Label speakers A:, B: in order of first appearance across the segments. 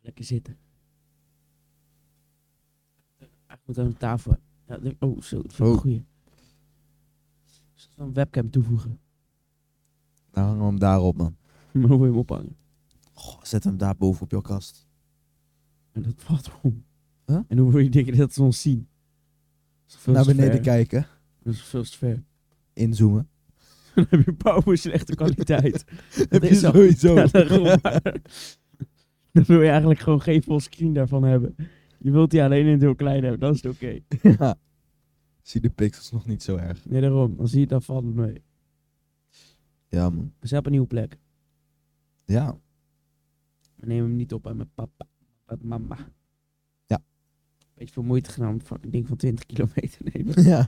A: Lekker zitten. Hij moet aan de tafel. Ja, ik denk- oh, zo, dat vind ik
B: Oh.
A: een goeie. Zal ik een webcam toevoegen?
B: Dan hangen we Nou, hem daarop, man.
A: Maar hoe wil je hem ophangen?
B: Goh, zet hem daar boven op jouw kast.
A: En dat valt om.
B: Huh?
A: En hoe wil je denken dat ze ons zien? Dat is veel
B: Naar
A: te
B: beneden
A: ver.
B: kijken.
A: Dat is veel te ver.
B: Inzoomen.
A: Dan heb je power slechte kwaliteit.
B: Heb je
A: is al-
B: sowieso.
A: Ja, daarom maar. Dan wil je eigenlijk gewoon geen full screen daarvan hebben. Je wilt die alleen in het heel klein hebben, dat is het oké.
B: Ja. Zie de pixels nog niet zo erg.
A: Nee, daarom. Dan zie je dat valt het mee.
B: Ja, man.
A: We zijn op een nieuwe plek.
B: Ja.
A: We nemen hem niet op bij mijn papa. Bij mijn mama.
B: Ja.
A: Beetje veel moeite gedaan om een fucking ding van 20 kilometer te nemen.
B: ja.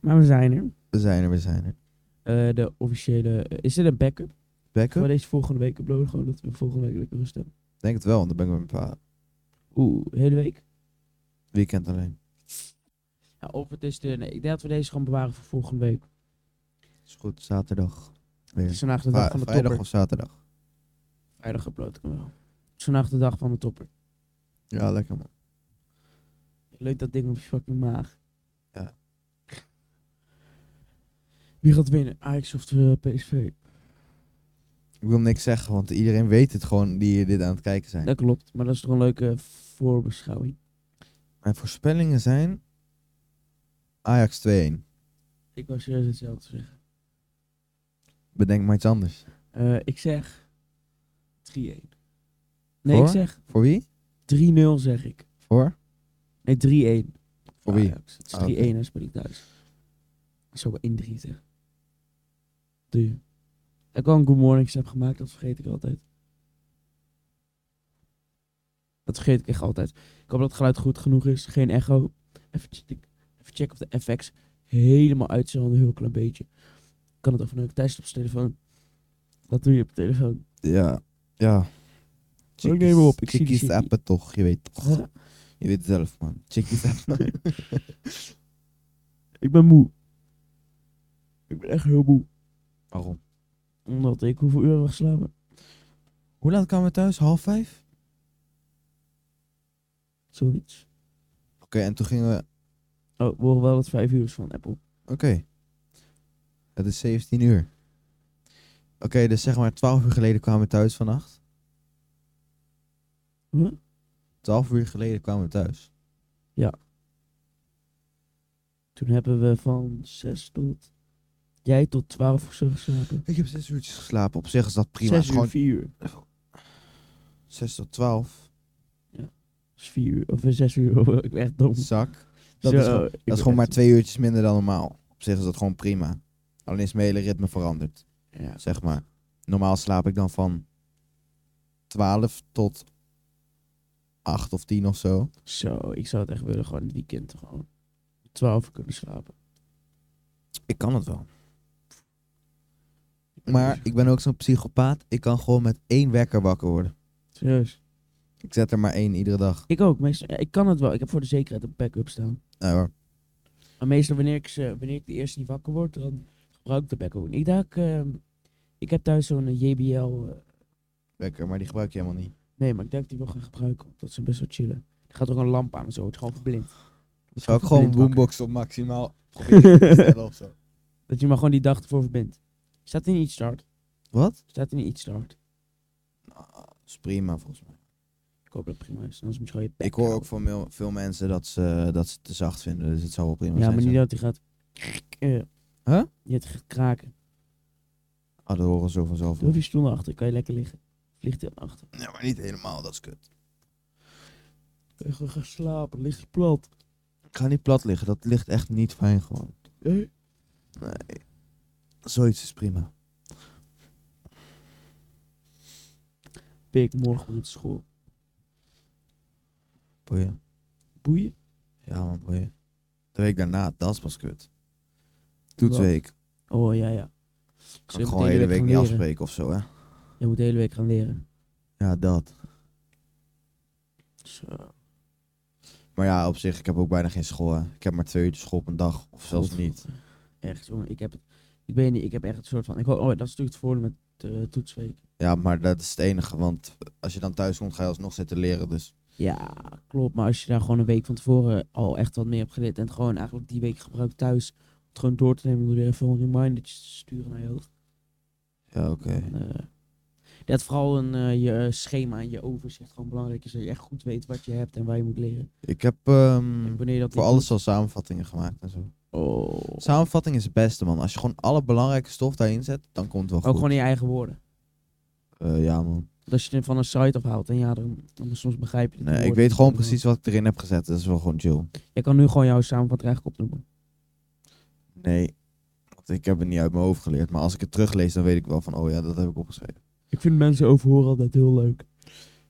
A: Maar we zijn er.
B: We zijn er, we zijn er.
A: Eh, de officiële... eh, is dit een backup? Gaan
B: Bekken?
A: we deze volgende week uploaden? Gewoon dat we volgende week lekker rust hebben.
B: Denk het wel, want dan ben ik met mijn pa.
A: Oeh, de hele week?
B: Weekend alleen.
A: Ja, of het is de... Nee, ik denk dat we deze gewoon bewaren voor volgende week.
B: Is goed, zaterdag.
A: Het
B: Weer.
A: is vandaag de
B: Va-
A: dag van de
B: vrijdag
A: topper.
B: of zaterdag.
A: Vrijdag upload ik hem wel. Het is vandaag de dag van de topper.
B: Ja, lekker man.
A: Leuk dat ding op je fucking maag.
B: Ja.
A: Wie gaat winnen? Ajax of eh, de PSV?
B: Ik wil niks zeggen, want iedereen weet het gewoon die dit aan het kijken zijn.
A: Dat klopt, maar dat is toch een leuke voorbeschouwing.
B: Mijn voorspellingen zijn Ajax 2-1.
A: Ik was juist hetzelfde zeggen.
B: Bedenk maar iets anders.
A: Eh, ik zeg 3-1. Nee,
B: Voor?
A: ik zeg
B: Voor wie?
A: 3-0 zeg ik.
B: Voor?
A: Nee, 3-1.
B: Voor wie?
A: Ajax. Het is 3-1
B: Ah, oké.
A: en speel ik thuis. Ik zou wel 1-3 zeggen. Doe. Ik al een Good Mornings heb gemaakt, dat vergeet ik altijd. Dat vergeet ik echt altijd. Ik hoop dat het geluid goed genoeg is. Geen echo. Even, check- even checken of de FX helemaal uit zijn, want een heel klein beetje. Ik kan het overnemen. Thijs is op zijn telefoon. Wat doe je op je telefoon?
B: Ja. Ja.
A: neem hem op, ik zie die
B: Chickies
A: shit
B: appen toch, je weet toch. Je weet het zelf man. Chickies appen.
A: Ik ben moe. Ik ben echt heel moe.
B: Waarom?
A: Omdat ik hoeveel uren heb ik geslapen?
B: Hoe laat kwamen we thuis? Half vijf?
A: Zoiets.
B: Oké, en toen gingen we...
A: Oh, we horen wel dat vijf uur is van Apple.
B: Oké. Het is 17 uur. Oké, dus zeg maar 12 uur geleden kwamen we thuis vannacht.
A: Huh?
B: 12 uur geleden kwamen we thuis.
A: Toen hebben we van zes tot... Jij tot twaalf of zo geslapen.
B: Ik heb 6 uurtjes geslapen. Op zich is dat prima.
A: Zes
B: Het is
A: uur,
B: gewoon
A: vier uur.
B: 6 tot 12.
A: Dat is vier uur. Of eh, zes uur. ik ben echt dom.
B: Zak. Dat
A: Zo,
B: is gewoon,
A: ik ben
B: dat is gewoon maar
A: echt-
B: twee uurtjes minder dan normaal. Op zich is dat gewoon prima. Alleen is mijn hele ritme veranderd,
A: Ja.
B: zeg maar. Normaal slaap ik dan van 12 tot 8 of 10 of zo.
A: Zo, ik zou het echt willen gewoon het weekend gewoon. Twaalf uur kunnen slapen.
B: Ik kan het wel.
A: Ik ben
B: Maar
A: niet zo-
B: ik ben ook zo'n psychopaat. Ik kan gewoon met één wekker wakker worden.
A: Serieus.
B: Ik zet er maar één iedere dag.
A: Ik ook, meestal. Ja, ik kan het wel. Ik heb voor de zekerheid een backup staan.
B: Nou, hoor.
A: Maar meestal wanneer ik, ze, wanneer ik de eerste niet wakker word, dan gebruik ik de backup. Ik dacht, eh, ik heb thuis zo'n eh, JBL... eh,
B: wekker, maar die gebruik je helemaal niet.
A: Nee, maar ik denk dat die wel gaan gebruiken. want Dat ze best wel chillen. Er gaat ook een lamp aan en zo. Het is gewoon verblind.
B: Dus zou ik
A: Of
B: gewoon
A: blind wakker.
B: boombox op maximaal proberen te stellen of zo.
A: Dat je maar gewoon die dag ervoor verbindt. Staat er niet iets start?
B: Wat?
A: Staat er niet iets start?
B: Dat Nou, is prima volgens mij.
A: Ik hoop dat het prima is. Anders moet je gewoon je
B: Ik hoor ook van meel- veel mensen dat ze, dat ze het te zacht vinden, dus het zou wel prima
A: Ja,
B: zijn.
A: maar
B: zo.
A: niet dat hij gaat... eh,
B: Huh?
A: Je het gaat kraken.
B: Ah, dat horen ze zo vanzelf
A: Doe
B: wel.
A: je stoel naar achter. Kan je lekker liggen. Ligt heel naar achter.
B: Ja, maar niet helemaal, dat is kut.
A: Kan je gewoon gaan slapen. Ligt je plat.
B: Ik ga niet plat liggen, dat ligt echt niet fijn gewoon.
A: Eh?
B: Zoiets is prima.
A: Pik, morgen moet school.
B: Boeien.
A: Boeien?
B: Ja, man, boeien. De week daarna, dat is pas kut. Toetsweek.
A: Oh, ja, ja. Dus
B: Kan
A: je moet
B: ik gewoon de hele week
A: gaan
B: niet
A: leren.
B: afspreken of zo, hè?
A: Je moet de hele week gaan leren.
B: Ja, dat.
A: Zo.
B: Maar ja, op zich, ik heb ook bijna geen school, hè? Ik heb maar twee uurtjes school op een dag, of zelfs
A: God,
B: niet.
A: Echt, jongen. Ik heb, het- ik weet niet, ik heb echt een soort van... Ik, ho- oh, dat is natuurlijk het voordeel met de toetsweek.
B: Ja, maar dat is het enige, want als je dan thuis komt, ga je alsnog zitten leren. Dus
A: Ja, klopt. Maar als je daar gewoon een week van tevoren al echt wat meer hebt geleerd en het gewoon eigenlijk die week gebruikt thuis, om het gewoon door te nemen door er even een remindertje te sturen naar je hoofd.
B: ja, oké.
A: En, eh, dat vooral een, eh, je schema en je overzicht gewoon belangrijk is, dat je echt goed weet wat je hebt en waar je moet leren.
B: Ik heb ehm,
A: En wanneer je dat
B: voor
A: niet
B: alles al samenvattingen gemaakt en zo.
A: doet- Oh.
B: Samenvatting is het beste, man. Als je gewoon alle belangrijke stof daarin zet, dan komt het wel
A: Ook
B: goed.
A: gewoon in je eigen woorden.
B: Eh, ja, man.
A: Want als je het van een site afhaalt en ja, dan, dan soms begrijp je het
B: Nee, ik
A: woord
B: weet
A: niet.
B: gewoon
A: En dan-
B: precies wat ik erin heb gezet. Dat is wel gewoon chill.
A: Je kan nu gewoon jouw samenvatting eigenlijk opnoemen.
B: Nee, want ik heb het niet uit mijn hoofd geleerd. Maar als ik het teruglees, dan weet ik wel van, oh ja, dat heb ik opgeschreven.
A: Ik vind mensen overhoren altijd heel leuk.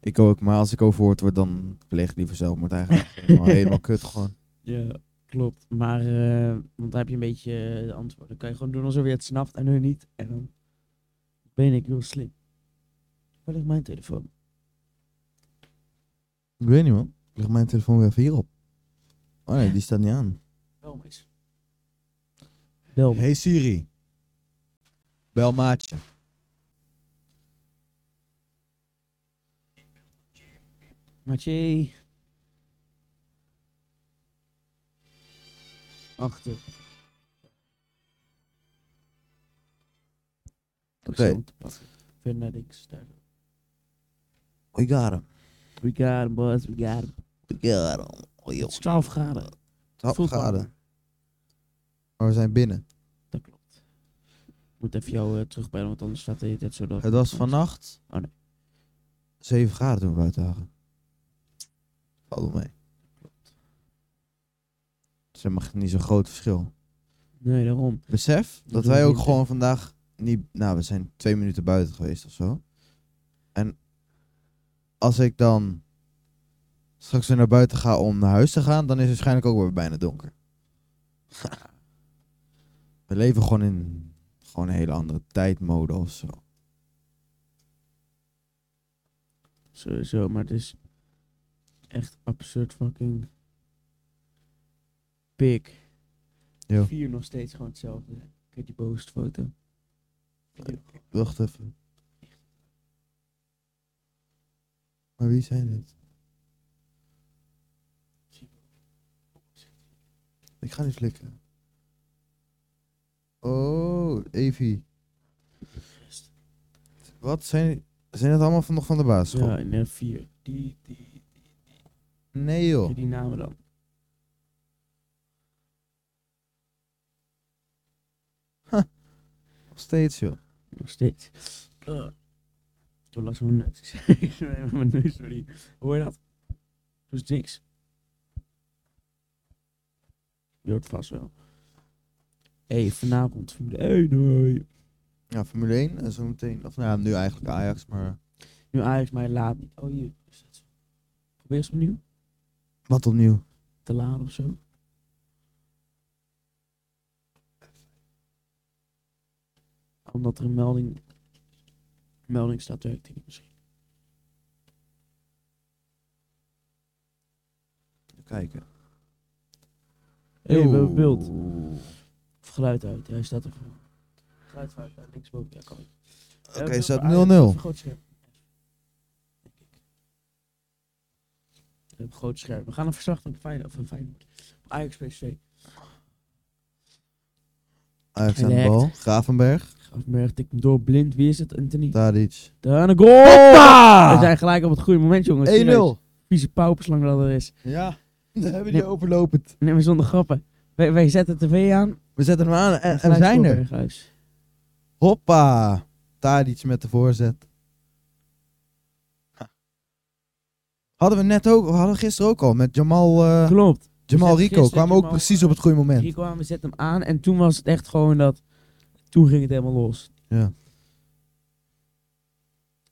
B: Ik ook, maar als ik overhoord word, dan pleeg ik liever zelfmoord eigenlijk. Helemaal, helemaal kut gewoon.
A: Ja, klopt. Maar, eh, want dan heb je een beetje eh, de antwoorden. Dan kan je gewoon doen alsof je het snapt en hun niet. En dan ben ik heel slim. Waar ligt mijn telefoon?
B: Ik weet niet, man. Ik leg mijn telefoon weer even hierop. Oh nee, die staat niet aan.
A: Bel me eens. Bel me.
B: Hey Siri. Bel maatje.
A: Mathieu. Achter.
B: Oké.
A: Verder niks. daardoor.
B: We got him.
A: We got him, boys. We got him.
B: We got him. Oh joh.
A: Het is 12 graden.
B: Oh,
A: Voelt
B: Tapgade.
A: warmer.
B: Maar we zijn binnen.
A: Dat klopt. Ik moet even jou eh, terugbellen, want anders staat de hele tijd zo dat...
B: Het was vannacht.
A: Oh, nee.
B: 7 graden toen we buiten waren. Valt wel mee. Ze Dus mag niet zo'n groot verschil.
A: Nee, daarom.
B: Besef
A: doen
B: dat
A: we
B: wij ook
A: winter.
B: gewoon vandaag niet. Nou, we zijn twee minuten buiten geweest of zo. En als ik dan straks weer naar buiten ga om naar huis te gaan, dan is het waarschijnlijk ook weer bijna donker. we leven gewoon in gewoon een hele andere tijdmode of zo.
A: Sowieso, maar het is echt absurd fucking... Pik.
B: Ja.
A: Vier nog steeds gewoon hetzelfde. Kijk die bovenste foto. Vier.
B: Wacht even. Maar wie zijn het? Ik ga niet flikken. Oh, Evie. Wat zijn, zijn dat allemaal van, nog van de basisschool?
A: Ja, en eh, vier. Die, die,
B: Nee joh.
A: die, die namen dan.
B: Nog steeds joh.
A: Nog steeds. Eh, Toen las mijn neus. Ik zweer met mijn neus, sorry. Hoor je dat? Dat is niks. Je hoort vast wel. Hé, hey, vanavond. Formule 1, hoi.
B: Ja, Formule 1 en zo meteen. Of nou ja, nu eigenlijk Ajax, maar...
A: Nu Ajax mij laat niet. Oh, hier. Is dat zo? Probeer eens opnieuw
B: Wat opnieuw?
A: te laden of zo. Omdat er een melding... melding staat, werkt die niet misschien.
B: Kijken.
A: Hé, hey, we hebben beeld.
B: Oeh.
A: Of geluid uit, ja, hij staat ervoor. Geluid uit, ja, linksboven, ja, kan.
B: Oké, staat 0-0.
A: Groot scherm. Een groot scherm. We gaan een verslag van Feyenoord. Van Feyenoord. Ajax PSV.
B: Ajax aan de
A: Gelekt.
B: bal. Gravenberg.
A: Grafberg tikt hem door. Blind. Wie is het? Anthony.
B: Tadic.
A: Daar een goal! We zijn gelijk op het goede moment, jongens. Serieus.
B: 1-0.
A: Vieze pauperslang dat er is.
B: Ja, we hebben
A: Nee.
B: die overlopend.
A: Nee, maar zonder grappen. Wij, wij zetten tv aan.
B: We zetten hem aan en, en we
A: Gelijk
B: zijn er.
A: Berghuis.
B: Hoppa. Tadic met de voorzet. Hadden we net ook, hadden we gisteren ook al met Jamal, eh,
A: Klopt.
B: Jamal
A: zetten
B: Rico.
A: gisteren
B: Kwamen ook
A: Jamal,
B: precies
A: eh,
B: op het goede moment.
A: Hier kwamen we, zetten hem aan. En toen was het echt gewoon dat... Toen ging het helemaal los.
B: Ja.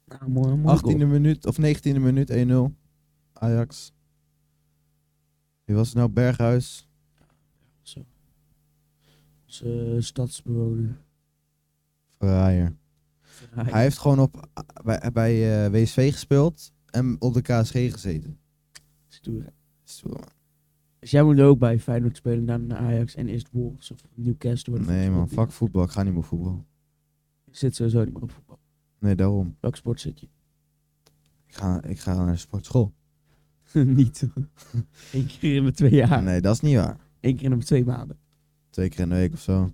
A: Nou, mooi, mooi
B: 18e minuut of 19e minuut 1-0. Ajax. Wie was het nou? Berghuis.
A: Onze eh, stadsbewoner.
B: Verraaier. Hij heeft gewoon op, bij, bij eh, WSV gespeeld en op de KSG gezeten.
A: Stoer.
B: Stoer, man.
A: Dus jij moet er ook bij Feyenoord spelen, dan naar Ajax en eerst Wolves of Newcastle.
B: Nee man, fuck voetbal. Ik ga niet meer voetbal.
A: Ik zit sowieso niet meer op voetbal.
B: Nee, daarom.
A: Welk sport zit je?
B: Ik ga, ik ga naar de sportschool.
A: Niet. Eén keer in de twee jaar.
B: Nee, dat is niet waar.
A: Eén keer in de twee maanden.
B: Twee keer in de week of zo.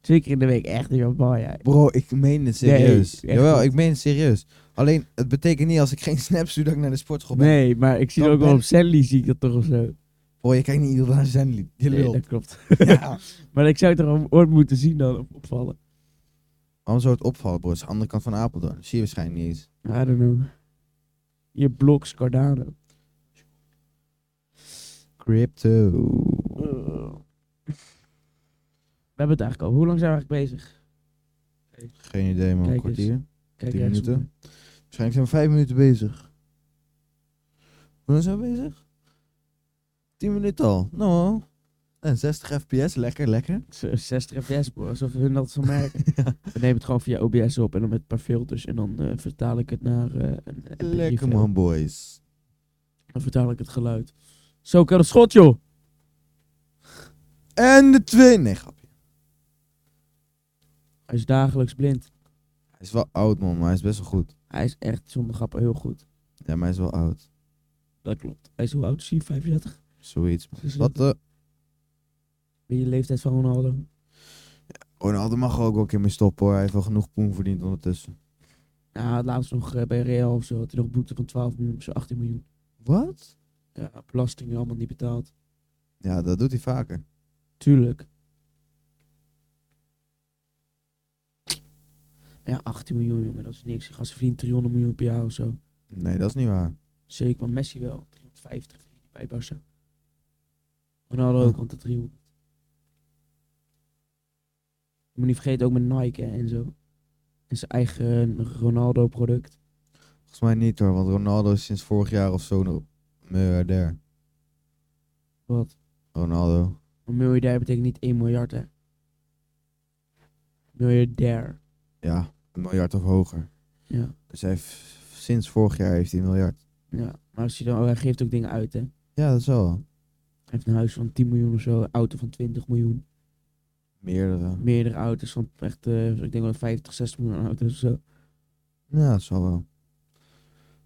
A: Twee keer in de week. Echt, joh, boy, jij.
B: Bro, ik meen het serieus.
A: echt
B: Jawel,
A: niet.
B: ik meen het serieus. Alleen, het betekent niet als ik geen snaps doe dat ik naar de sportschool ben.
A: Nee, maar ik zie
B: Dan
A: ook wel
B: ben-
A: op Sally zie ik dat toch of zo.
B: Bro, je kijkt niet ieder naar zijn lied. Je
A: Nee,
B: lult.
A: dat klopt.
B: Ja.
A: Maar ik zou het toch ooit moeten zien dan op- opvallen.
B: Waarom zou het opvallen, bro? Het is de andere kant van Apeldoorn. Dat zie je waarschijnlijk niet eens.
A: I don't know. Je bloks Cardano.
B: Crypto. Oh.
A: We hebben het eigenlijk al. Hoe lang zijn we eigenlijk bezig?
B: Geen idee, maar een
A: Kijk eens.
B: kwartier.
A: Kijk,
B: Tien
A: rechtsom.
B: minuten? Waarschijnlijk zijn we vijf minuten bezig. Hoe lang zijn we bezig? Tien minuten al. Nou. En 60 fps, lekker, lekker.
A: Zo, 60 fps, bro. Alsof hun dat zo merken. We nemen het gewoon via OBS op en dan met een paar filters. En dan eh, vertaal ik het naar eh, een MP3
B: Lekker
A: file.
B: man, boys.
A: Dan vertaal ik het geluid. Zo kan het schot, joh.
B: En de twee. Nee, grapje.
A: Hij is dagelijks blind.
B: Hij is wel oud, man, maar hij is best wel goed.
A: Hij is echt zonder grappen heel goed.
B: Ja, maar hij is wel oud.
A: Dat klopt. Hij is hoe oud? Is hij? 35?
B: Zoiets. eh, man.
A: 36?
B: Wat de.
A: Ben Dus, eh, je leeftijd van Ronaldo?
B: Ronaldo mag er ook wel een keer mee stoppen hoor. Hij heeft wel genoeg poen verdiend ondertussen.
A: Nou, laatst nog eh, bij Real of zo. Had hij nog een boete van 12 miljoen, of zo 18 miljoen.
B: Wat?
A: Ja, belastingen allemaal niet betaald.
B: Ja, dat doet hij vaker.
A: Tuurlijk. Ja, 18 miljoen, jongen, dat is niks. Als ze vriend 300 miljoen per jaar of zo.
B: Nee, dat is niet waar.
A: Zeker, maar Messi wel. 350 bij Barca. Ronaldo ook, want de 300. Je moet niet vergeten, ook met Nike hè, en zo. En zijn eigen Ronaldo-product.
B: Volgens mij niet hoor, want Ronaldo is sinds vorig jaar of zo nog miljardair.
A: Wat?
B: Ronaldo.
A: Een miljardair betekent niet 1 miljard, hè? Miljardair.
B: Ja, een miljard of hoger.
A: Ja.
B: Dus hij heeft, sinds vorig jaar heeft hij een miljard.
A: ja. Maar als je dan, oh, hij geeft ook dingen uit, hè? Hij
B: Ja, dat is wel.
A: heeft een huis van 10 miljoen of zo, een auto van 20 miljoen.
B: Meerdere.
A: Meerdere auto's van echt, eh, ik denk wel 50, 60 miljoen auto's of zo.
B: Ja, dat zal wel.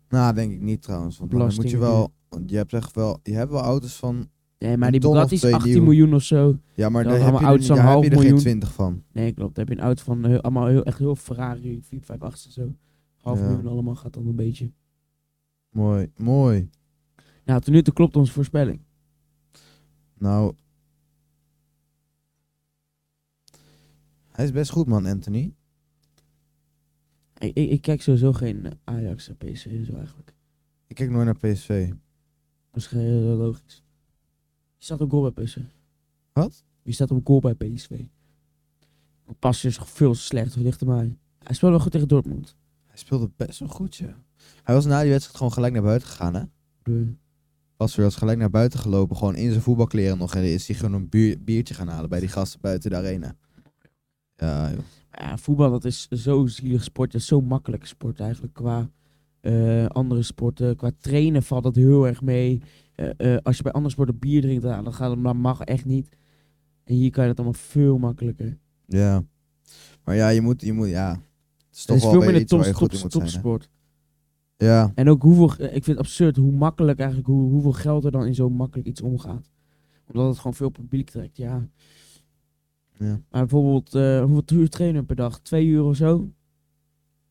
B: Nou, denk ik niet trouwens. Want dan moet je
A: Belasting,
B: wel. Want je hebt echt wel. Je hebt wel auto's van.
A: Nee, maar
B: Een
A: die
B: ton of
A: Bugatti is
B: twee
A: 18
B: nieuw.
A: miljoen of zo.
B: Ja, maar
A: Ja,
B: daar heb,
A: allemaal
B: je er,
A: auto's van
B: niet- daar heb
A: half
B: je er geen
A: miljoen.
B: 20 van.
A: Nee, klopt. Dan heb je een auto van heel, allemaal heel, echt heel Ferrari, 458 en zo. Half
B: Ja.
A: miljoen allemaal gaat dan een beetje.
B: Mooi, mooi.
A: Nou, tot nu toe klopt onze voorspelling.
B: Nou. Hij is best goed, man, Anthony.
A: Ik, ik, ik kijk sowieso geen eh, Ajax en PSV en zo eigenlijk.
B: Ik kijk nooit naar PSV.
A: Dat is ge- heel eh, logisch. Je staat op goal bij PSV.
B: Wat?
A: Je staat op goal bij PSV. Pas is veel slecht, ligt er maar. Hij speelde wel goed tegen Dortmund.
B: Hij speelde best wel goed, ja. Hij was na die wedstrijd gewoon gelijk naar buiten gegaan, hè?
A: De-
B: Pas weer was gelijk naar buiten gelopen, gewoon in zijn voetbalkleren nog. En is hij gewoon een bier- biertje gaan halen bij die gasten buiten de arena. Ja, joh.
A: Ja, voetbal dat is zo zielig sport. Dat is zo'n makkelijke sport eigenlijk. Qua eh, andere sporten, qua trainen valt dat heel erg mee. Eh, eh, als je bij andere sporten bier drinkt, nou, dan gaat het, dat mag echt niet. En hier kan je dat allemaal veel makkelijker.
B: Ja. Maar ja, je moet, je moet, ja. Het is
A: Het
B: toch
A: is veel
B: wel weer
A: minder
B: iets waar
A: top,
B: je
A: top,
B: goed in moet zijn, hè?
A: topsport.
B: Ja,
A: En ook hoeveel, eh, ik vind het absurd hoe makkelijk eigenlijk, hoe, hoeveel geld er dan in zo makkelijk iets omgaat. Omdat het gewoon veel publiek trekt, ja.
B: ja.
A: Maar bijvoorbeeld, eh, hoeveel uur trainen we per dag? Twee uur of zo?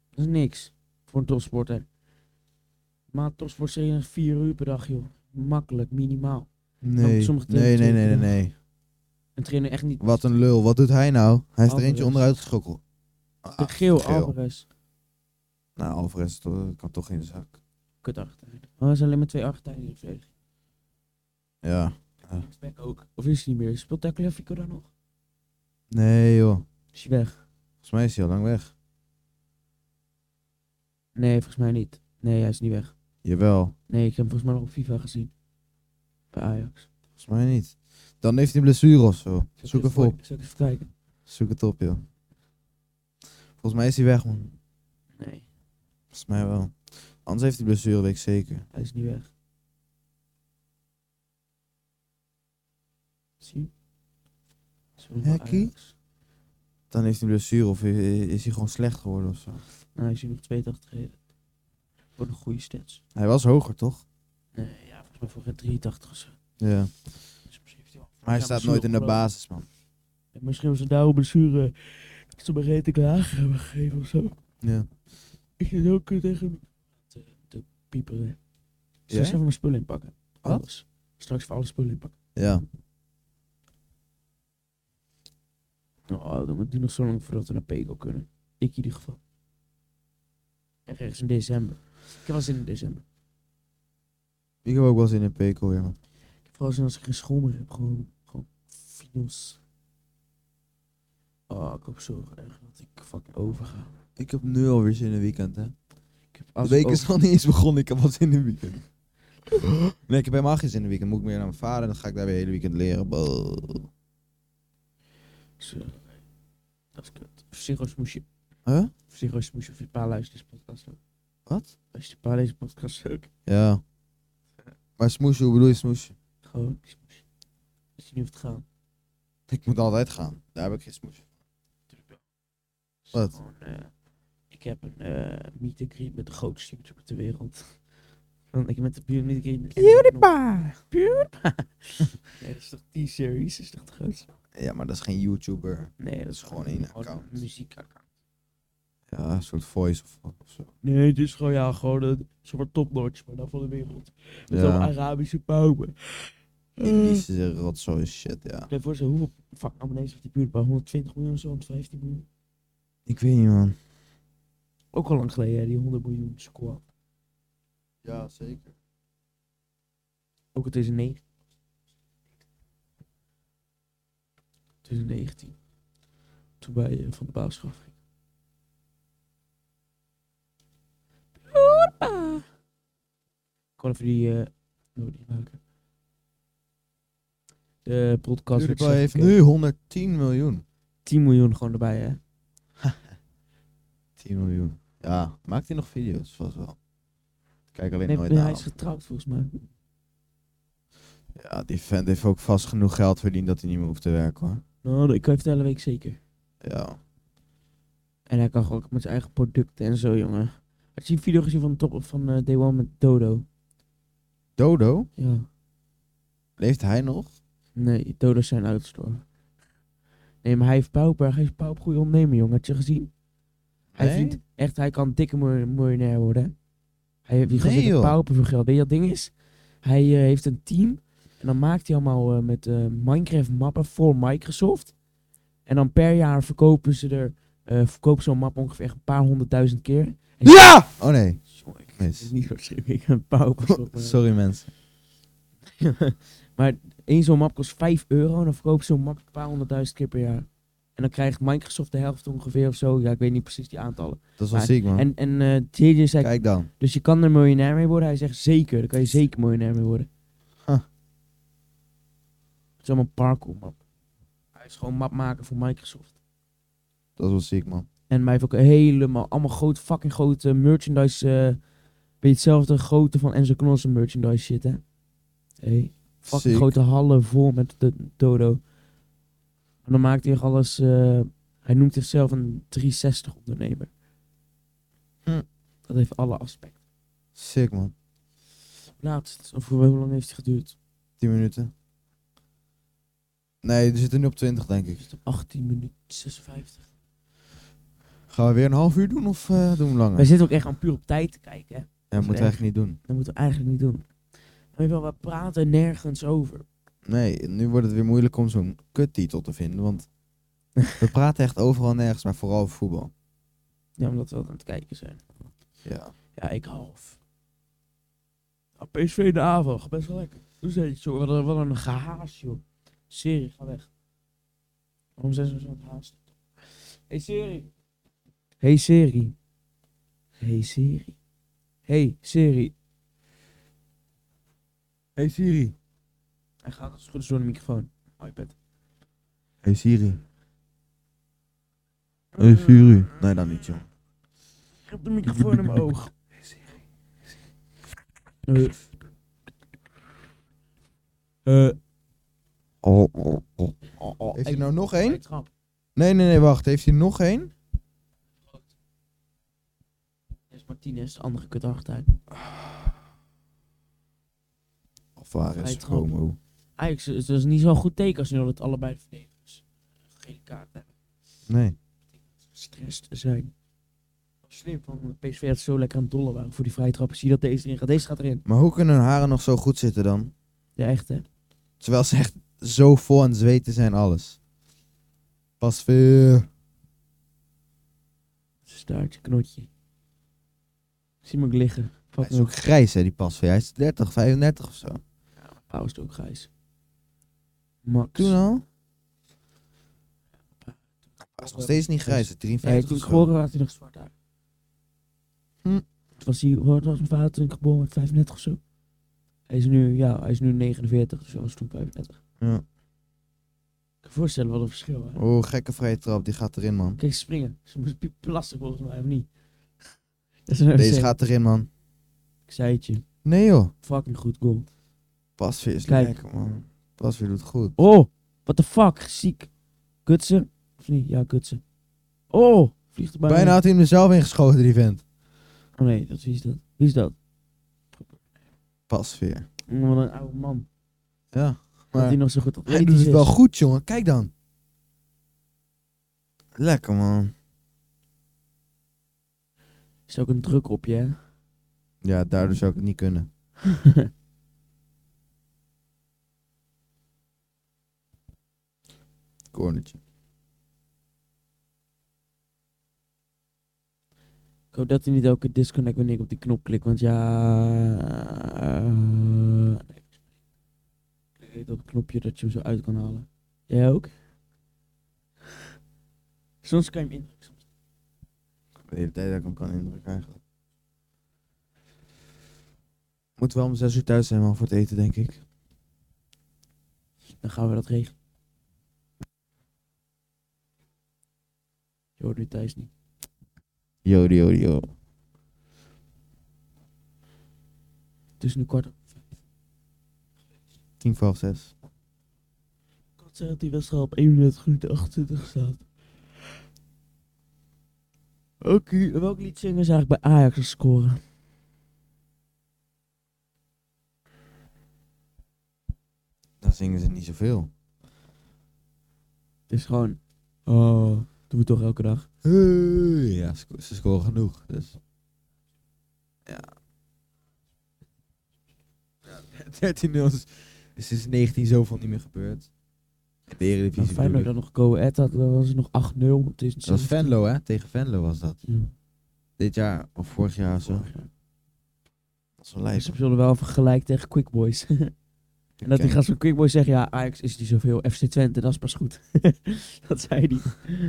A: Dat is niks. Voor een topsporter. Maar een topsport trainen is vier uur per dag, joh. Makkelijk, minimaal.
B: Nee.
A: sommige
B: nee, nee,
A: trainers-
B: nee, nee, nee.
A: En trainen echt niet.
B: Wat een lul. Wat doet hij nou? Hij is er
A: Alvarez.
B: eentje onderuit geschokkeld. Ah,
A: De geel,
B: geel.
A: Alvarez.
B: Nou, Alvarez is toch- kan toch in de zak.
A: Kut Argentijn. Oh, er zijn alleen maar twee Argentijnen in de verdediging.
B: Ja.
A: Linksback ook. Of is hij niet meer? Speelt Tagliafico daar nog?
B: Nee, joh.
A: Is hij weg?
B: Volgens mij is hij al lang weg.
A: Nee, volgens mij niet. Nee, hij is niet weg.
B: Jawel.
A: Nee, ik heb hem volgens mij nog op FIFA gezien. Bij Ajax.
B: Volgens mij niet. Dan heeft hij een blessure of zo. Zoek
A: hem
B: even op.
A: Zal ik even kijken?
B: Zoek het op, joh. Volgens mij is hij weg, man.
A: Nee,
B: Volgens mij wel. Anders heeft hij blessure, weet ik zeker.
A: hij is niet weg. Zie? Zo, bij
B: Hekkie?
A: Ajax.
B: Dan heeft hij een blessure of i- i- is hij gewoon slecht geworden of zo.
A: Nou, hij is nu nog 82 gereden. Voor een goede stats.
B: Hij was hoger, toch?
A: Nee, ja, volgens mij voor een 83 of zo.
B: Ja.
A: Dus misschien heeft hij wel-
B: Maar hij
A: Ja,
B: staat
A: blessure
B: nooit in de
A: opgelopen.
B: basis, man.
A: En misschien was het daarom blessure eh, dat ze me reten klaar hebben gegeven of zo.
B: Ja.
A: Ik zit ook tegen te, te pieperen. Straks
B: Ja?
A: even mijn spullen inpakken.
B: Wat?
A: Alles. Straks voor alle spullen inpakken.
B: Ja.
A: Oh, dan moet die nog zo lang voordat we naar Pego kunnen. Ik in ieder geval. Ergens in december. Ik heb wel zin in december.
B: Ik heb ook wel zin in Pekel weer, man.
A: Ik heb vooral zin als ik geen school meer heb. Gewoon, gewoon finals. Oh, ik hoop zo erg dat ik fucking overga.
B: Ik heb nu alweer zin in een weekend, hè.
A: Ik heb als
B: de week
A: ik
B: is nog niet eens begonnen, ik heb wat zin in een weekend. nee, ik heb helemaal geen zin in een weekend. Moet ik meer naar mijn vader en dan ga ik daar weer het hele weekend leren. Boah.
A: Zo. Dat is kut. Psychos moest je.
B: Huh?
A: Psychos moest je voor een paar luisteren deze podcast ook.
B: Wat?
A: Als je een paar deze podcast ook.
B: Ja. Maar smoesje, hoe bedoel je smoesje?
A: Gewoon. smoesje. Als je niet hoeft te gaan.
B: Ik moet altijd gaan. Daar heb ik geen smoesje.
A: Is
B: Wat?
A: gewoon, eh, ik heb een eh meet and greet met de grootste YouTuber ter wereld. Want ik heb met de Pure meet and greet. PewDiePie! PewDiePie! nee, dat is toch T-series? Dat is toch de grootste?
B: Ja, maar dat is geen YouTuber.
A: Nee, dat is
B: Gewoon
A: gewoon
B: één account.
A: account. muziekaccount.
B: Ja, een soort voice of, of zo.
A: Nee, het is gewoon, ja, gewoon een soort topnotch, maar dan van de wereld. Met zo'n
B: Ja,
A: Arabische pauwen.
B: Indische rotzooi shit, ja.
A: Stel je voor, zo, hoeveel fuck abonnees heeft die buurt bij 120 miljoen of zo, 115 miljoen?
B: Ik weet niet, man.
A: Ook al lang geleden, hè, die 100 miljoen squad.
B: Ja, zeker.
A: Ook in 2009. 2019. Toen bij eh, Van de Baas gaf ik. Bloedba! Ik kon even die... eh oh, die maken. De podcast... ik
B: PewDiePie
A: zeg,
B: heeft
A: oké,
B: nu 110 miljoen.
A: 10 miljoen gewoon erbij, hè.
B: 10 miljoen. Ja, maakt hij nog video's? Vast wel. Ik Kijk alleen
A: Nee,
B: nooit nou.
A: nee,
B: naar
A: hij is
B: hem.
A: getrouwd volgens mij.
B: Ja, die vent heeft ook vast genoeg geld verdiend dat hij niet meer hoeft te werken, hoor.
A: Nou, ik kan je vertellen, weet ik zeker.
B: Ja.
A: En hij kan gewoon ook met zijn eigen producten en zo, jongen. Had je een video gezien van, top, van eh, Day One met Dodo?
B: Dodo,
A: Ja.
B: leeft hij nog?
A: Nee, Dodo is zijn uitstore. Nee, maar hij heeft Pauper. Hij is Pauper goede ondernemer, jongen. Had je gezien? Hij
B: Nee?
A: verdient echt, hij kan dikke mil- miljonair worden. hè. Hij heeft die
B: Nee,
A: nee,
B: joh.
A: Pauper voor geld. Weet je wat het ding is? Hij eh, heeft een team. En dan maakt hij allemaal eh, met eh, Minecraft mappen voor Microsoft. En dan per jaar verkopen ze er... eh verkopen zo'n map ongeveer echt een paar honderdduizend keer. En-
B: Ja! Oh nee,
A: Sorry, ik
B: Mis.
A: is niet waarschijnlijk ik een pauper.
B: sorry mensen.
A: maar één zo'n map kost 5 euro en dan verkoop je zo'n map een paar honderdduizend keer per jaar. En dan krijgt Microsoft de helft ongeveer of zo. Ja, ik weet niet precies die aantallen.
B: Dat is wel
A: Maar-
B: ziek, man.
A: En, en eh, JJ zei,
B: Kijk dan.
A: dus je kan er miljonair mee worden? Hij zegt zeker, daar kan je zeker miljonair mee worden.
B: Huh.
A: Het is allemaal parkour map. Hij is gewoon map maken voor Microsoft.
B: Dat is wel ziek, man.
A: En mij heeft ook helemaal, allemaal groot, fucking grote merchandise. eh weet je hetzelfde grootte van Enzo Knoll's merchandise shit, hè? Hey, fucking
B: Ziek.
A: grote hallen vol met de dodo. En dan maakt hij nog alles. eh, hij noemt zichzelf een 360 ondernemer.
B: Hm.
A: Dat heeft alle aspecten.
B: Sick, man.
A: Laatst, of hoe hoe lang heeft het geduurd?
B: 10 minuten. Nee, we zitten nu op 20, denk
A: Het
B: ik.
A: is 18 minuten 56.
B: Gaan we weer een half uur doen of eh, doen we langer?
A: Wij zitten ook echt aan puur op tijd te kijken, hè?
B: Ja, moeten we eigenlijk niet doen.
A: Dat moeten we eigenlijk niet doen. Maar wel, we praten nergens over.
B: Nee, nu wordt het weer moeilijk om zo'n kuttitel te vinden, want we praten echt overal nergens, maar vooral over voetbal.
A: Ja, omdat we dat aan het kijken zijn.
B: Ja.
A: Ja, ik half. Ah, PSV in de aanval, gaat best wel lekker. Hoe zei het, joh? Wat een, wat een gehaast, joh. Serie, ga weg. Waarom zijn ze zo aan het haasten? Hey Siri. Hey Siri. Hey Siri. Hey Siri.
B: Hey Siri.
A: Hij gaat als het goed is door de microfoon. Oh, iPad.
B: Hey Siri. Hey Siri. Nee, dat niet, joh.
A: Ik heb de microfoon in mijn oog. Eh. Eh,
B: Eh. Oh, oh, oh. Heeft hij nou nog één?
A: trap.
B: Nee, nee, nee, wacht. Heeft hij nog één?
A: Is Martinez, de andere kut achtertuin. Vrij
B: Alvarez,
A: trap.
B: Romo.
A: Ajax het was niet zo'n goed teken als nu dat het allebei de verdedigers gele kaart hebben.
B: Nee.
A: Gestrest zijn. Slim van de PSV dat ze zo lekker aan het dollen waren voor die vrije trappen. Zie je dat deze erin gaat. Deze gaat erin.
B: Maar hoe kunnen hun haren nog zo goed zitten dan?
A: De echte.
B: Terwijl ze echt zo vol aan het zweten zijn, alles. Pas weer.
A: Staartje, knotje. Ik zie hem ook liggen.
B: Hij
A: Fuck
B: is
A: me.
B: ook grijs, hè, die pas weer. Hij is 30, 35 of zo.
A: Pauw is het ook grijs. Max.
B: Toen al? Hij is nog steeds niet grijs, hij is
A: Ja, ja,
B: 53
A: toen ik
B: of zo.
A: geboren was, had hij nog zwart haar.
B: Hm.
A: Toen was hij, hoor, was mijn vader toen ik geboren werd, 35 of zo. Hij is nu, ja, hij is nu 49, dus hij was toen 35.
B: Ja.
A: Ik kan me voorstellen wat een verschil. Hè?
B: Oh, gekke vrije trap, die gaat erin, man.
A: Kijk, ze springen. Ze moest piep- plassen volgens mij, of niet? Dat is een
B: Deze
A: RC.
B: gaat erin, man.
A: Ik zei het je.
B: Nee, joh.
A: Fucking goed goal.
B: Pas weer is
A: Kijk.
B: lekker, man. Pas weer doet goed.
A: Oh, what the fuck. Ziek. Kutsen. Of niet? Ja, kutsen. Oh, vliegt er bijna.
B: Bijna had hij hem er zelf in geschoten, die vent.
A: Oh nee, dat, wie is dat? Wie is dat?
B: Pas weer.
A: Oh, Wat een oude man.
B: Ja.
A: Dat
B: Maar
A: hij nog zo goed
B: hij doet
A: atletisch
B: het wel
A: is.
B: goed, jongen. Kijk dan. Lekker, man.
A: Is ook een druk op je, hè?
B: Ja, daardoor zou ik het niet kunnen. Cornertje.
A: Ik hoop dat hij niet elke keer disconnect wanneer ik op die knop klik, want ja... eh, nee. Ik weet dat knopje dat je hem zo uit kan halen. Jij ook? Soms kan je hem indrukken. soms-
B: De hele tijd dat ik hem kan indrukken eigenlijk. Moet wel om zes uur thuis zijn man voor het eten, denk ik.
A: Dan gaan we dat regelen. Je hoort nu Thijs niet.
B: Yo, yo, yo.
A: Het is nu kwart.
B: Tien voor half zes.
A: Ik had zeggen dat die wedstrijd op 31 minuten 28 staat. Oké, en welk lied zingen ze eigenlijk bij Ajax als scoren?
B: Dan zingen ze niet zoveel.
A: Het is gewoon... Oh, dat doen we toch elke dag.
B: Hey, ja, ze, sco- ze scoren genoeg. Dus. Ja. 13-0 is, is sinds 19 zoveel niet meer gebeurd. In de
A: Nou,
B: Eredivisie
A: Feyenoord
B: bedoel
A: dan
B: ik.
A: nog Go Ahead had, dan was het nog 8-0. Het is
B: Dat was Venlo, hè? Tegen Venlo was dat.
A: Ja.
B: Dit jaar, of vorig jaar of zo. Dat is wel
A: Ze
B: lijst.
A: zullen wel even gelijk tegen Quick Boys. en dat die gast van Quick Boys zeggen, ja, Ajax is niet zoveel. FC Twente, dat is pas goed. dat zei hij.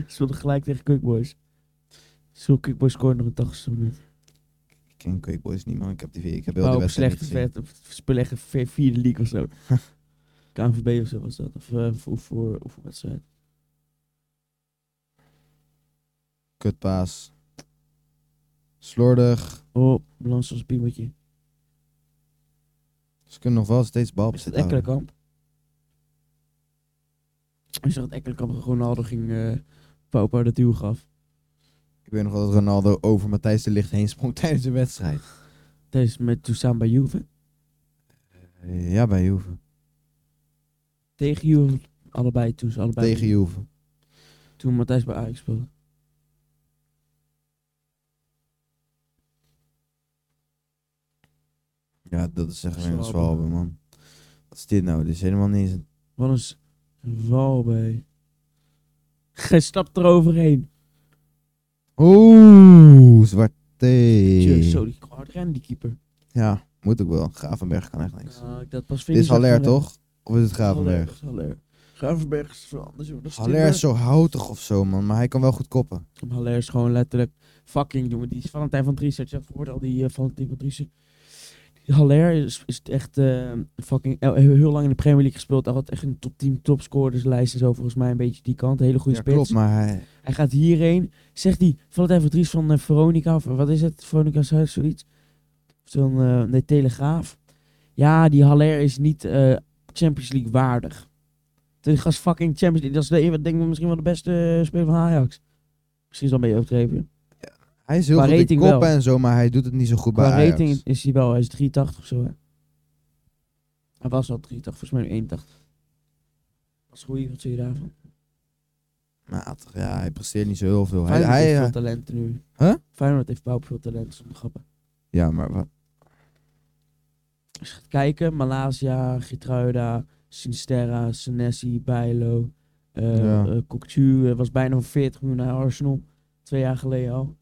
A: Ze speelden gelijk tegen Quick Boys. Zo Quick Boys scoren nog een 80 minuut.
B: Ik ken Quick Boys niet, man. Ik heb, die, ik heb heel
A: Maar
B: de
A: op
B: wedstrijd niet
A: slechte
B: gezien.
A: vet, op spelen echt een vierde league of zo. KNVB of zo was dat. Of eh, voor, voor, of voor wedstrijd.
B: Kutpaas. Slordig.
A: Oh, balans als piemeltje.
B: Ze kunnen nog wel steeds bal
A: Is dat
B: bezitten. houden.
A: Ekkelenkamp? Ik zag dat Ekkelenkamp Ronaldo ging eh Pauper de duw gaf.
B: Ik weet nog wel dat Ronaldo over Matthijs de Licht heen sprong tijdens de wedstrijd.
A: Tijdens met Toussaint bij Juve.
B: Eh, Ja, bij Juve.
A: Tegen Juve. Allebei toen ze allebei.
B: Tegen Juve.
A: Toen Matthijs bij Ajax speelde.
B: Ja, dat is echt een
A: Zwalbe.
B: zwalbe, man. Wat is dit nou? Dit is helemaal niet eens... een-
A: Wat een s- val bij. Hij stapt eroverheen.
B: Oeh, zwart thee.
A: Tjus, Zo, die kon hard rennen, die keeper.
B: Ja, moet ook wel. Gravenberg kan echt niks.
A: Ah, ik dat pas
B: dit is Haller, toch? Of is het Gravenberg?
A: Haller. Gravenberg is veel anders. joh. Dat is
B: Haller
A: Timber.
B: is zo houtig of zo, man. Maar hij kan wel goed koppen.
A: Haller is gewoon letterlijk fucking doen. Die is Valentijn van Driessen. Je hoort al die eh, Valentijn van Driessen. Die Haller is, is echt eh, fucking eh, heel, heel lang in de Premier League gespeeld. Hij had echt een top 10 topscorerslijst en zo volgens mij een beetje die kant. Hele goede
B: Ja,
A: spits.
B: klopt, maar hij...
A: Hij gaat hierheen. Zegt hij, Valentijn van Dries van eh, Veronica, of wat is het? Veronica's huis, zoiets. Of dan, eh nee, Telegraaf. Ja, die Haller is niet eh, Champions League waardig. Terwijl Die gast fucking Champions League. Dat is de, ik denk ik misschien wel de beste eh, speler van Ajax. Misschien is dat een beetje overdreven.
B: Hij is heel
A: Qua
B: goed in
A: rating
B: koppen
A: wel.
B: en zo, maar hij doet het niet zo goed
A: Qua
B: bij Ajax.
A: rating is hij wel, hij is 83 of zo. Hè. Hij was al 83, volgens mij nu 81. Dat is goed, wat zie je daarvan?
B: Matig, ja, hij presteert niet zo heel veel. Hij,
A: Feyenoord
B: hij,
A: heeft
B: eh,
A: veel talenten nu.
B: Huh?
A: Feyenoord heeft pauper veel talenten, zonder grappen.
B: ja, maar wat-
A: Als je gaat kijken, Malaysia, Gitruida, Sinisterra, Senesi, Bijlo, eh
B: Ja.
A: eh, Courtois, eh, was bijna van 40 miljoen naar Arsenal, twee jaar geleden al.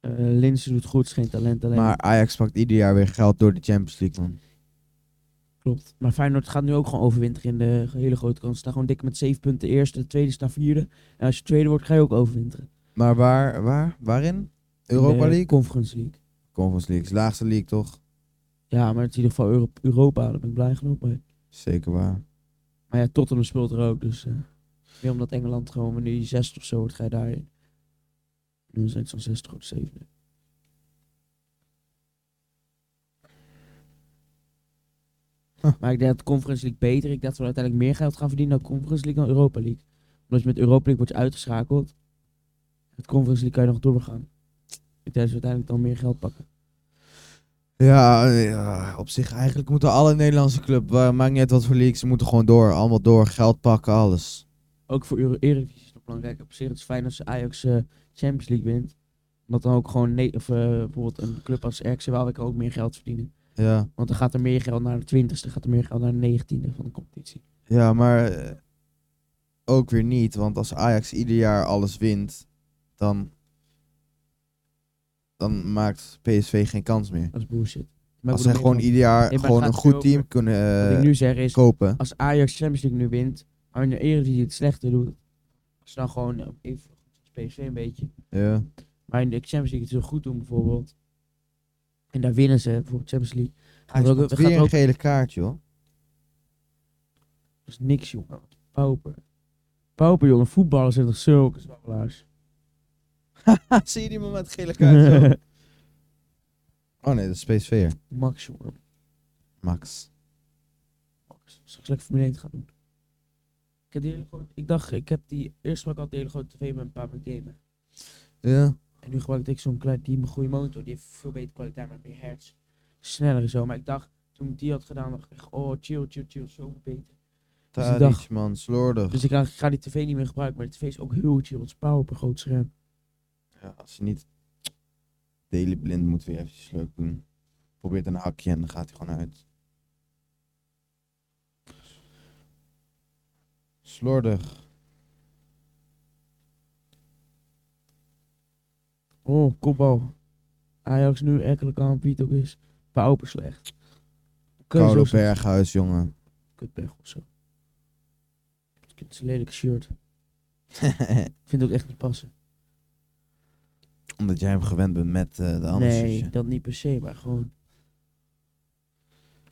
A: Eh Linse doet goed, is geen talent alleen.
B: maar Ajax pakt ieder jaar weer geld door de Champions League, man.
A: Klopt. Maar Feyenoord gaat nu ook gewoon overwinteren in de hele grote kans. Ze staan gewoon dik met 7 punten eerste, de tweede staan vierde. En als je tweede wordt, ga je ook overwinteren.
B: Maar waar, waar, waarin? Europa
A: In de
B: League?
A: Conference League.
B: Conference League, is de laagste league toch?
A: Ja, maar het is in ieder geval Euro- Europa, daar ben ik blij genoeg mee.
B: Zeker waar.
A: Maar ja, Tottenham speelt er ook, dus... eh, meer omdat Engeland gewoon wanneer je 60 of zo wordt, ga je daarin. Nu zijn het zo'n 60 of 70.
B: Huh.
A: Maar ik denk dat de Conference League beter. Ik dacht dat we uiteindelijk meer geld gaan verdienen dan Conference League dan Europa League. Omdat je met Europa League wordt je uitgeschakeld. Met Conference League kan je nog doorgaan. Ik denk dat ze uiteindelijk dan meer geld pakken.
B: Ja, ja, op zich eigenlijk moeten alle Nederlandse club, eh, maakt niet uit wat voor league, ze moeten gewoon door. Allemaal door, geld pakken, alles.
A: ook voor Euro Eredivisie is het nog belangrijk. Op zich het is fijn als Ajax eh, Champions League wint. Omdat dan ook gewoon ne- of, eh, bijvoorbeeld een club als RKC Waalwijk kan ook meer geld verdienen.
B: Ja,
A: Want dan gaat er meer geld naar de twintigste, gaat er meer geld naar de negentiende van de competitie.
B: ja maar eh, ook weer niet, want als Ajax ieder jaar alles wint, dan, dan maakt PSV geen kans meer.
A: Dat is bullshit. Maar
B: als
A: ik bedoel
B: zij gewoon
A: meer
B: ieder jaar
A: Nee, maar
B: gewoon
A: het
B: een
A: gaat nu
B: goed team
A: over-
B: kunnen
A: van-
B: eh,
A: Wat ik nu zeg is,
B: kopen.
A: als Ajax Champions League nu wint, maar in de Eredivisie het slechter doet, als ze dan gewoon eh, even PSV een beetje.
B: Ja.
A: Maar in de Champions League het heel goed doen bijvoorbeeld. En daar winnen ze bijvoorbeeld Champions League.
B: Hij
A: er ook-
B: pakt
A: gaat
B: weer
A: er
B: een
A: ook-
B: gele kaart, joh.
A: Dat is niks, jongen. Pauper. Pauper, jongen. Voetballers zijn toch zulke zwakkelaars.
B: Ah, Zie je die man met gele kaart, joh? oh nee, dat is PSV,
A: Max, jongen.
B: Max.
A: Max. Straks lekker Formule 1 gaan doen. Ik, heb die hele grote- ik dacht, ik heb die... Eerst gebruik ik altijd de hele grote tv met een paar met gamen.
B: Ja.
A: En nu gebruik ik zo'n klein, die een goede motor. Die heeft veel betere kwaliteit, maar meer hertz. Sneller en zo. Maar ik dacht, toen ik die had gedaan, dacht ik echt, oh, chill, chill, chill. Zo beter. Dus ik dacht-
B: Tadic, man, slordig.
A: Dus ik ga, ik ga die tv niet meer gebruiken. Maar de tv is ook heel chill. Het is power op een groot scherm.
B: Ja, als je niet... Daily Blind moet weer eventjes leuk doen. Probeert een hakje en dan gaat hij gewoon uit. Slordig.
A: Oh, kopbal. Ajax nu eigenlijk aan Piet ook is. Pauper slecht. Kun je zo
B: Koude
A: slecht-
B: Berghuis, jongen.
A: Kutberg of zo. Het is een lelijk shirt. Ik vind het ook echt niet passen.
B: Omdat jij hem gewend bent met eh, de andere
A: nee,
B: zusje.
A: dat niet per se, maar gewoon.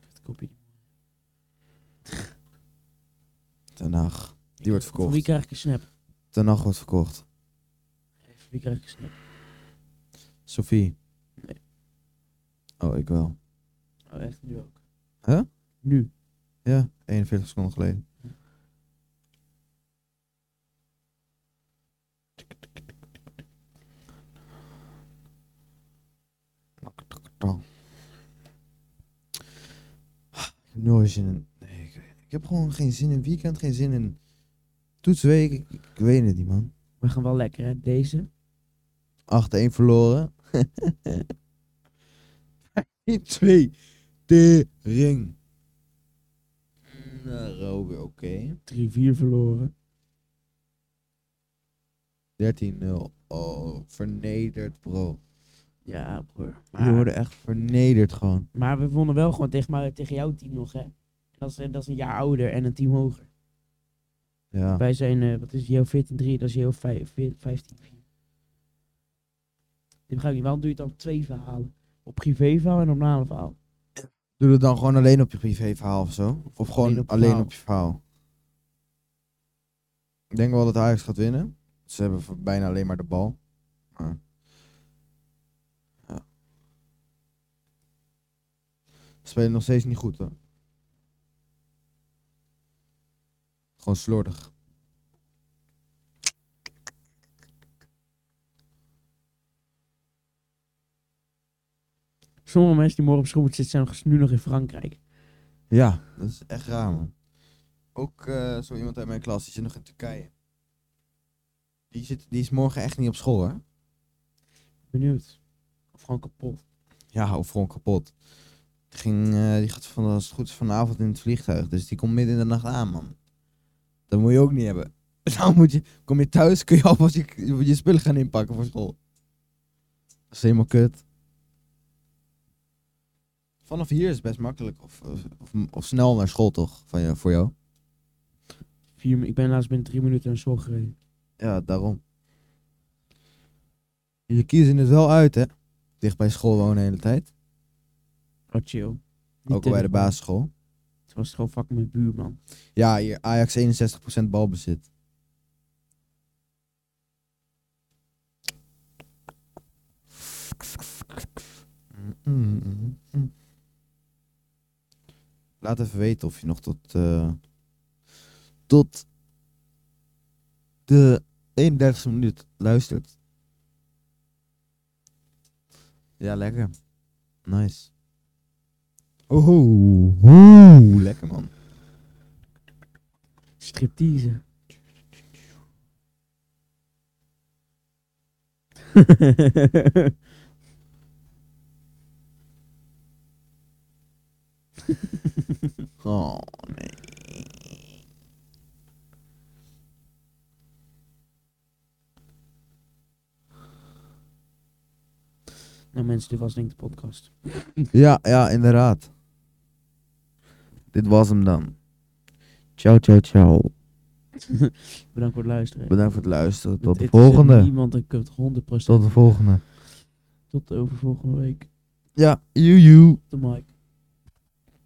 A: Het kopje.
B: Ten Hag. Die wordt
A: Van wie
B: verkocht.
A: krijg ik een snap?
B: Ten Hag wordt verkocht.
A: Nee, Van wie krijg ik een snap?
B: Sophie.
A: Nee.
B: Oh, ik wel.
A: Oh, echt nu ook.
B: Huh?
A: Nu.
B: Ja, 41 seconden geleden. Ik heb nooit zin in. Nee, ik, weet- ik heb gewoon geen zin in weekend, geen zin in toetsweek. Ik, ik weet het niet, man.
A: We gaan wel lekker, hè? Deze.
B: 8-1 verloren. 2 Tering. Nou, Robert, oké.
A: 3-4 verloren.
B: 13-0. Oh, vernederd, bro.
A: Ja, broer.
B: We worden echt vernederd gewoon.
A: Maar we wonnen wel gewoon tegen, maar tegen jouw team nog, hè? Dat is, eh, dat is een jaar ouder en een team hoger.
B: Ja.
A: Wij zijn, eh, wat is JO 14-3, dat is JO 15 4 Dit begrijp ik niet. Waarom doe je dan twee verhalen? Op privéverhaal en op normale verhaal.
B: Doe het dan gewoon alleen op je privéverhaal of zo? Of gewoon alleen
A: Alleen
B: op,
A: op
B: je verhaal? Ik denk wel dat Ajax gaat winnen. Ze hebben voor- bijna alleen maar de bal. Maar... Ja. Ze spelen nog steeds niet goed hoor. Gewoon slordig.
A: Sommige mensen die morgen op school moeten zitten zijn nog- nu nog in Frankrijk.
B: Ja, dat is echt raar, man. Ook eh, zo iemand uit mijn klas, die zit nog in Turkije. Die, zit, die is morgen echt niet op school, hè?
A: Benieuwd. Of gewoon kapot.
B: Ja, of gewoon kapot. Die, ging, eh, die gaat van, als het goed is vanavond in het vliegtuig, dus die komt midden in de nacht aan, man. Dat moet je ook niet hebben. Dan moet je, kom je thuis, kun je alvast je, je spullen gaan inpakken voor school. Dat is helemaal kut. Vanaf hier is het best makkelijk, of, of, of, of snel naar school toch, van, je- voor jou?
A: Vier, mi- ik ben laatst binnen drie minuten naar school gereden.
B: Ja, daarom. Je kiezen het wel uit, hè? Dicht bij school wonen de hele tijd.
A: Oh, chill. Niet
B: Ook al bij de
A: tegen-
B: basisschool.
A: Het was gewoon fucking mijn buurman.
B: Ja, hier Ajax 61% balbezit. Laat even weten of je nog tot, eh, tot de 31ste minuut luistert. Ja, lekker. Nice. Oh, oh, oh, lekker man.
A: Striptease.
B: Oh nee.
A: nou mensen, dit was denk ik de podcast.
B: Ja, ja, inderdaad. Dit was hem dan. Ciao, ciao, ciao.
A: Bedankt voor het luisteren.
B: Bedankt voor het luisteren. Tot de
A: Het interesseert
B: volgende.
A: Niemand een kut 100%.
B: Tot de volgende.
A: Tot over volgende week.
B: Ja, joe, joe.
A: De mic.